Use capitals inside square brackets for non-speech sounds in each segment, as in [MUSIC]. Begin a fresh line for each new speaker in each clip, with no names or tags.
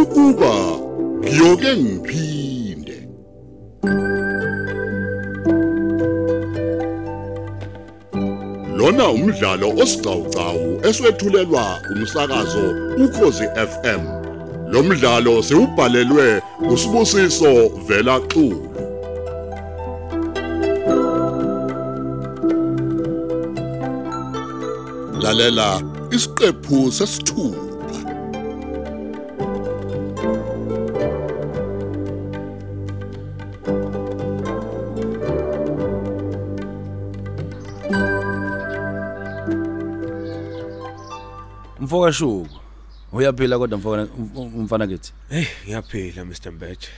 ukuba ngiyoke ngiphinde lona umdlalo osiqhawqhawo eswethulelwa umsakazo ukhozi FM lo mdlalo siubhalelwe usibusiso vela xulu lalela isiqephu sesithupha
Mfoka Shuku. Uyaphila kodwa mfoka um, umfana kithi.
Hey, ngiyaphila Mr Mbethe.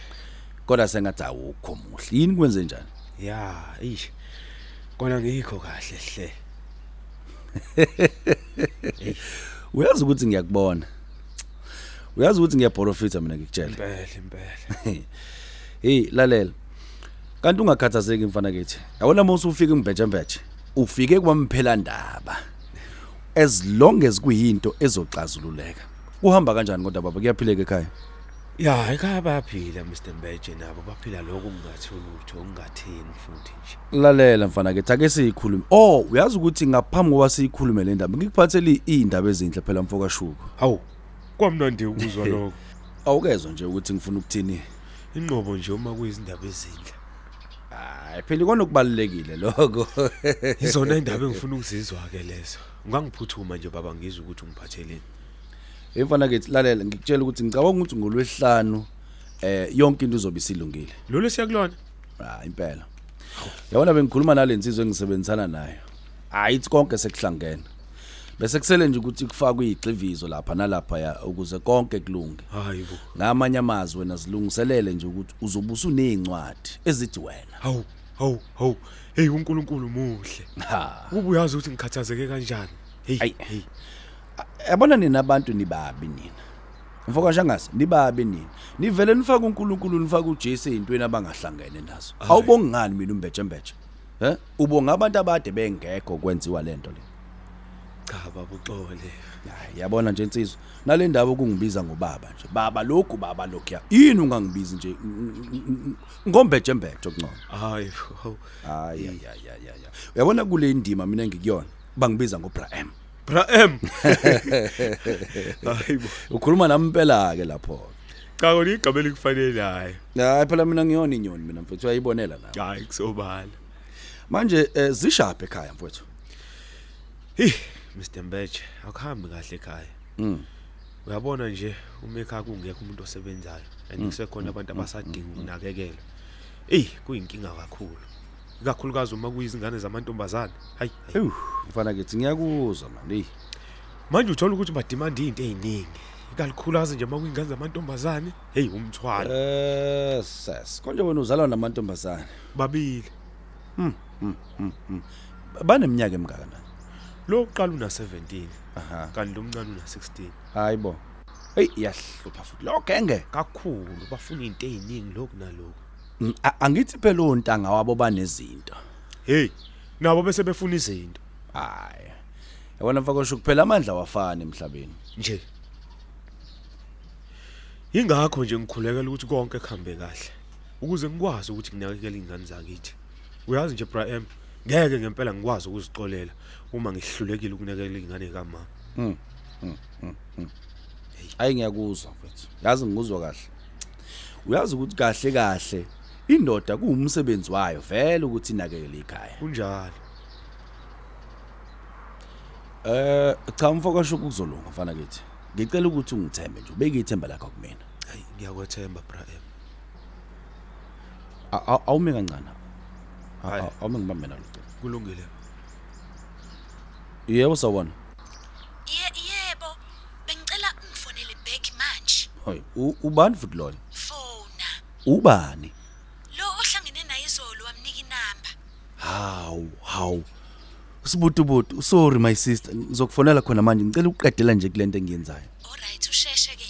Kodwa sengathi awukho muhle. Yini kwenze njani?
Ya, eish. Kona ngikho kahle hle.
Uyazi ukuthi ngiyakubona. Uyazi ukuthi ngiyaprofita mina ngikutshela.
Impela, impela. [LAUGHS]
Hey, lalela. Kanti ungakhathazeki mfana kithi. Yabona mose ufike ngibhejembeje. Ufike kwamphela ndaba. As long as kuyinto ezoxazululeka. Kuhamba kanjani kodwa baba kuyaphileka ekhaya?
Ya, ekhaya bayaphila Mr Mbethe nabo baphila lokho kungathi lutho, ungathini futhi nje.
Lalela mfana ke thake siyikhulume. Oh, uyazi ukuthi ngaphambi kokuba siyikhulume le ndaba ngikuphathele izindaba ezinhle phela mfoka Shuku.
Hawu. Kwamnandi [LAUGHS] ukuzwa lokho.
Awukezwa nje ukuthi ngifuna ukuthini.
Inqobo nje uma kuyizindaba ezinhle.
Hayi, phela ikona kubalekile lokho.
[LAUGHS]
[LAUGHS]
Izona indaba engifuna ukuzizwa ke lezo. Ungangiphuthuma nje baba ngizwe ukuthi ungiphatheleni.
Hey mfana ke lalela ngikutshela ukuthi ngicabanga ukuthi ngolwesihlanu eh yonke into izobe isilungile.
Lolu siyakulona.
Hayi impela. Yabona bengikhuluma nalensizwe engisebenzisana nayo. Hayi it's konke sekuhlangene. Bese kusele nje ukuthi kufakwe igxivizo lapha nalapha ya ukuze konke kulunge.
Hayi bo.
ngamanye amazwi wena silungiselele nje ukuthi uzobusa uneyincwadi ezithi wena
Hawu, hawu, hawu. Hey uNkulunkulu muhle.
ha
Ubuyazi ukuthi ngikhathazeke kanjani. Hey,
Ayi.
hey.
yabona nina abantu nibabi nina mfoka shangase nibabi nina nivele nifake uNkulunkulu nifake uJesu ezintweni abangahlangene nazo
Ayi.
awubongani mina umbetshembetshe he ubonga abantu abade bengekho kwenziwa lento le
Cha baba uxole.
Hayi, yabona nje insizwa nalendaba kungibiza ngobaba nje baba lokhu baba lokhu yini ungangibizi nje ngombetshembetshe kuncono
Hayi, hawu.
Hayi ya ya ya ya. Uyabona kule indima mina ngikuyona bangibiza ngoBraem.
Bra M. Hayibo.
Ukhuluma nami impela ke lapho.
Cha kona igama elikufanele hayi.
Hayi phela mina ngiyona inyoni mina mfethu uyayibonela la.
Hayi kusobala.
Manje eh, zishaphe ekhaya mfethu.
Hi, Mr Mbethe, akuhambi kahle ekhaya.
Mm.
Uyabona nje umekha kungekho umuntu osebenzayo
Mm.
and kusekhona abantu abasadinga ukunakekela. Ey, kuyinkinga kakhulu. Ikakhulukazi uma kuyizingane zamantombazana. Hayi. hayi.
Ewu, mfana kithi ngiyakuzwa man. Hey.
Manje uthola ukuthi badimanda izinto eziningi. Ikalikhulaza nje uma kuyingane zamantombazane. Hey, umthwalo.
Eh, sas. Konje wena uzalwa namantombazana.
Babili.
Baneminyaka emingakana.
Lo uqala una 17,
Aha.
kanti lo mncane una 16.
Hayibo. Hey, iyahlupha futhi. Lo genge.
kakhulu bafuna izinto eziningi lokhu nalokhu
Mm, a- Angithi phela ontanga wabo banezinto.
hey nabo bese befuna izinto
Hayi. Yabona mfaka kusho kuphela amandla awafani emhlabeni.
nje ingakho nje ngikhulekela ukuthi konke kuhambe kahle ukuze ngikwazi ukuthi nginakekele izingane zakithi uyazi nje Brian ngeke ngempela ngikwazi ukuzicolela uma ngihlulekile ukunakekela izingane kamama
hayi ngiyakuzwa mfethu yazi ngikuzwa kahle uyazi ukuthi kahle kahle indoda kuwumsebenzi wayo vele ukuthi inakekele ikhaya
kunjalo
eh cha mfoka shoku kuzolunga mfana kithi ngicela ukuthi ungithembe nje ubeke ithemba lakho kumina
hayi ngiyakwethemba Brian
A- a- awume kancane A-
Hhayi.
a- awume ngibambe nalo icebo.
kulungile
yebo sawona
Ye yebo, bengicela ungifonele back manje.
hoy u- ubani futhi loyo
Fona.
ubani
Lo ohlangene naye izolo wamnika inamba.
hawu hawu sibutubutu sorry my sister ngizokufonela khona manje ngicela ukuqedela nje kule nto engiyenzayo
Alright, usheshe ke.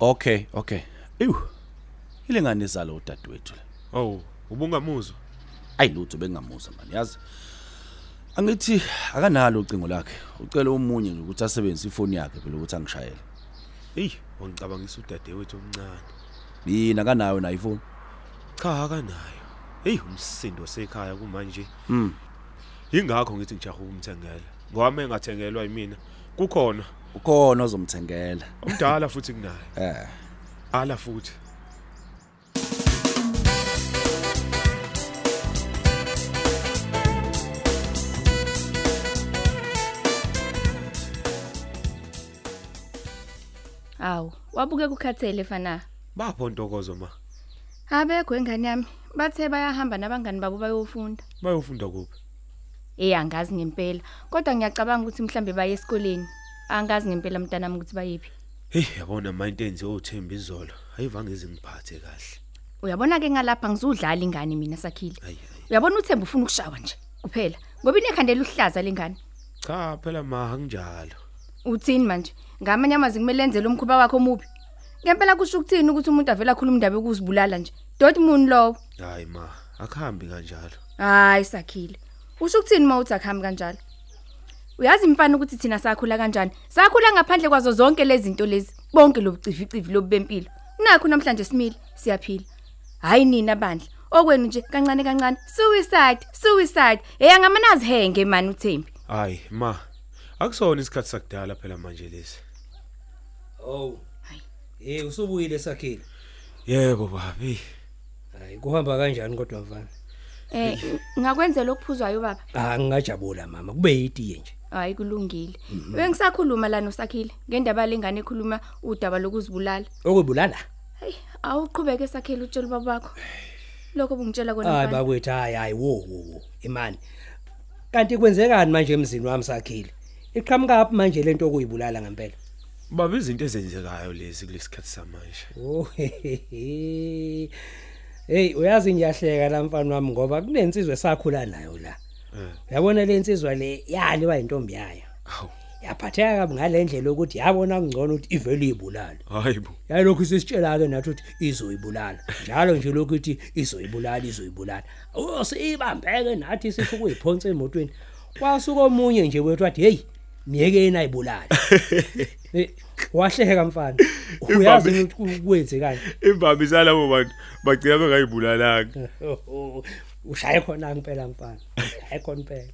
Okay, okay. Ew. Ilenganisa lo dadwethu.
oh ubungamuzwa
Ayilutho bengamuzwa manje yazi. angithi akanalo ucingo lakhe ucela omunye nje ukuthi asebenzise ifoni yakhe phela ukuthi angishayele
eyi wangicabangisa udadewethu omncane
yini akanayo nayo ifoni
cha akanayo eyi umsindo sekhaya kumanje
Mm.
yingakho ngithi ngijahe ukumthengela ngoba uma engathengelwa yimina kukhona
ukhona ozomthengela
umdala futhi kunaye
eh
ala futhi
Awu, wabuke kukhathele fana.
bapho ntokozo ma
Abekho engane yami, bathe bayahamba nabangani babo bayofunda.
bayofunda kuphi
Eh angazi ngempela, kodwa ngiyacabanga ukuthi mhlambe baye esikoleni. Angazi ngempela mntanami ukuthi bayephi.
heyi yabona ma into enziwe uthemba izolo ayivange zingiphathe kahle
Uyabona ke ngalapha ngizudlala ingane mina sakhile.
hayi hayi
Uyabona uThemba ufuna ukushawa nje kuphela. Ngoba inekhandela uhlaza lengane.
cha phela ma anginjalo
Uthini manje? Ngamanye amazi kumele enzele umkhuba wakho omubi. Ngempela kusho ukuthini ukuthi umuntu avela khuluma indaba yokuzibulala nje? Dortmund lowo.
hayi ma akuhambi kanjalo
Hayi sakhile. Usho ukuthini mawuthi akuhambi kanjalo? Uyazi mfana ukuthi thina sakhula kanjani? Sakhula ngaphandle kwazo zonke lezi zinto lezi. Bonke lobucivicivi lobempilo. Nakho namhlanje simile, siyaphila. Hayi nina bandla. Okwenu nje kancane kancane. Suicide, suicide. Hey angamanazi henge mani uThembi.
hayi ma akusona isikhathi sakudala phela manje lesi
Oh. Eh usubuyile sakhile.
yebo baba eyi
Hayi kuhamba kanjani kodwa mfana?
Eh ngakwenzela okuphuzwayo baba.
Ah ngingajabula mama kube yitiye nje.
Hayi kulungile. Bengisakhuluma la nosakhile ngendaba lengane ekhuluma udaba lokuzibulala.
Okubulala?
Hey, awuqhubeke sakhele utshela baba bakho. Lokho bungitshela kona
Hayi
mfana.
bakwethu hayi hayi wo wo wo imani. Kanti kwenzekani manje emzini wami sakhile? Iqhamuka aphi manje lento okuyibulala ngempela?
baba izinto ezenzekayo lezi kulesikhathi samanje
Oh. Hey uyazi ngiyahleka la mfana wami ngoba kunensizwe sakhula nayo la.
eh
Uyabona le insizwa le yaliwa intombi yayo.
hawu
Yaphatheka kabi ngalendlela ukuthi yabona kungcono ukuthi ivele ibulala.
hayi bo
yayilokhu isisitshela ke nathi ukuthi izoyibulala njalo nje lokhu ithi izoyibulala izoyibulala Oh, siyibambeke nathi sifike uyiphonsa emotweni kwasuka omunye nje wethu wathi hey miyekeni ayibulala Eh, wahleka mfana uyazi yini ukuthi [LAUGHS] kwenzekani
imbambi zalabo bantu bagcina bengayibulalanga
Oh, ushaye khona ngempela mfana ushaye khona impela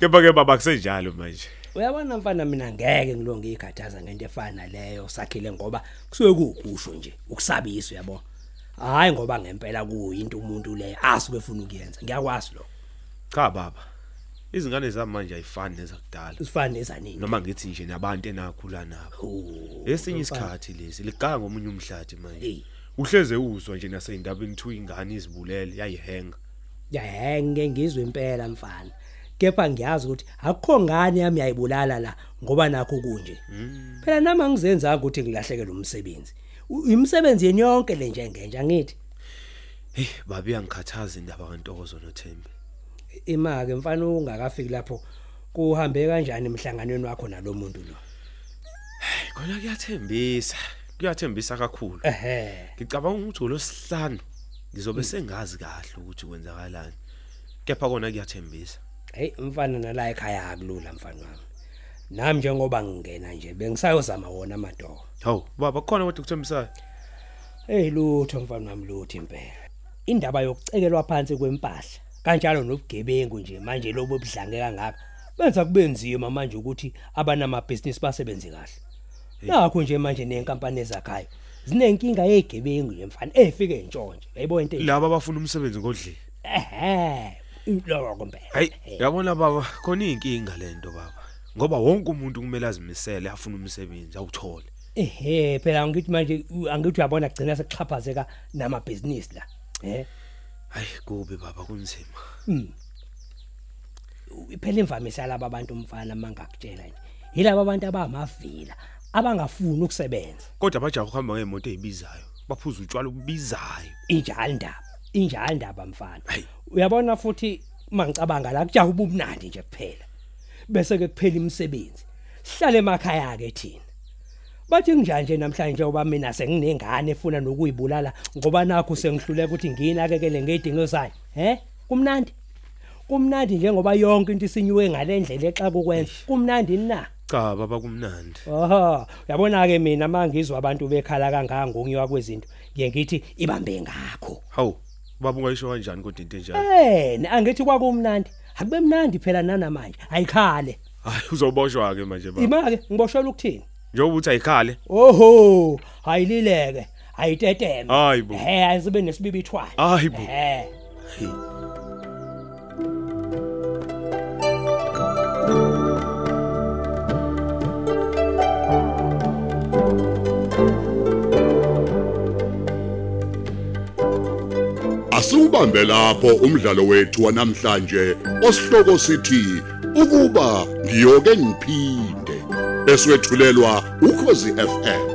kepha ke baba kusenjalo manje
uyabona mfana mina ngeke ngilo ngiyikhathaza ngento efana naleyo sakhile ngoba kusuke kuwukusho nje ukusabisa uyabona hayi ngoba ngempela kuyinto umuntu le asuke efuna ukuyenza ngiyakwazi lo
cha baba izingane zamanje ayifani nezakudala
usifane nezanini
noma ngithi nje nabantu enakhula nabo esinye isikhathi lesi ligaka ngomunye umhlathi manje
Eyi.
uhleze uzwa nje naseyindabeni kuthiwa ingane izibulele yayihenga
yahenge ngizwe impela mfana kepha ngiyazi ukuthi akukho ngani yami yayibulala la ngoba nakho kunje phela nami angizenza ukuthi ngilahlekele umsebenzi U- imisebenzi yeni yonke le njengenja ngithi
hey baba iyangikhathaza indaba kantokozo nothembi
imake mfana ungakafiki lapho kuhambe kanjani emhlanganweni wakho nalomuntu lo
Hey, khona kuyathembisa kuyathembisa kakhulu
ehe
ngicabanga ukuthi ngolosihlanu ngizobe sengazi kahle ukuthi kwenzakalani kepha kona kuyathembisa
hey mfana nala ekhaya akulula mfana wami nami njengoba ngingena nje bengisayozama wona amadoko
hawu baba kukhona kodwa kuthembisayo
hey lutho mfana wami lutho impela indaba yokucekelwa phansi kwempahla kanjalo nobugebengu nje manje lobo budlange kangaka benza kube nzima manje ukuthi abanamabhizinisi basebenze kahle nakho nje manje nenkampani ezakhayo zinenkinga yegebengu nje mfana efike intshonje yayibona into enje?
laba abafuna umsebenzi ngodlile
ehe lokho impela
hayi yabona baba khona iy'nkinga le nto baba ngoba wonke umuntu kumele azimisele afune umsebenzi awuthole
ehe phela ngithi manje u- angithi uyabona kugcina sekuxhaphazeka namabhizinisi la eh
hayi kubi baba kunzima
u- hmm. phela imvamisa laba bantu umfana mangakutshela nje yilabo abantu abamavila abangafuni ukusebenza
kodwa abajaha ukuhamba ngey'moto ey'bizayo baphuza utshwala obubizayo
injalo indaba injalo indaba mfana
Hayi.
uyabona futhi mangicabanga la kujaha ubumnandi nje kuphela bese ke kuphela imisebenzi sihlale emakhaya ke thina bathi nginjani nje namhlanje uba mina senginengane efuna nokuyibulala ngoba nakho sengihluleka ukuthi ngiyinakekele ngeyidingo zayo he kumnandi kumnandi njengoba yonke into isinyuwe ngalendlela exa kukwenza kumnandi na
cha baba kumnandi
aha uyabona ke mina mangizwa abantu bekhala kangaka ngiyiwa kwezinto ngiye ngithi ibambe ngakho
hawu baba ungayisho kanjani kodwa into enjalo
Eh, angithi kwakumnandi. Akube mnandi phela nanamanje. Ayikhale.
hayi uzawuboshwa ke manje baba
Ima ke ngiboshela ukuthini?
njengoba uthi ayikhale
Oho, hayilileke. Ayiteteme.
Hayi bo.
Eh, ayizibe nesibibithwane.
Hayi bo.
Eh.
Asubambe lapho umdlalo wethu wanamhlanje osihloko sithi ukuba ngiyoke ngiphinde eswetshulelwa ukhozi FM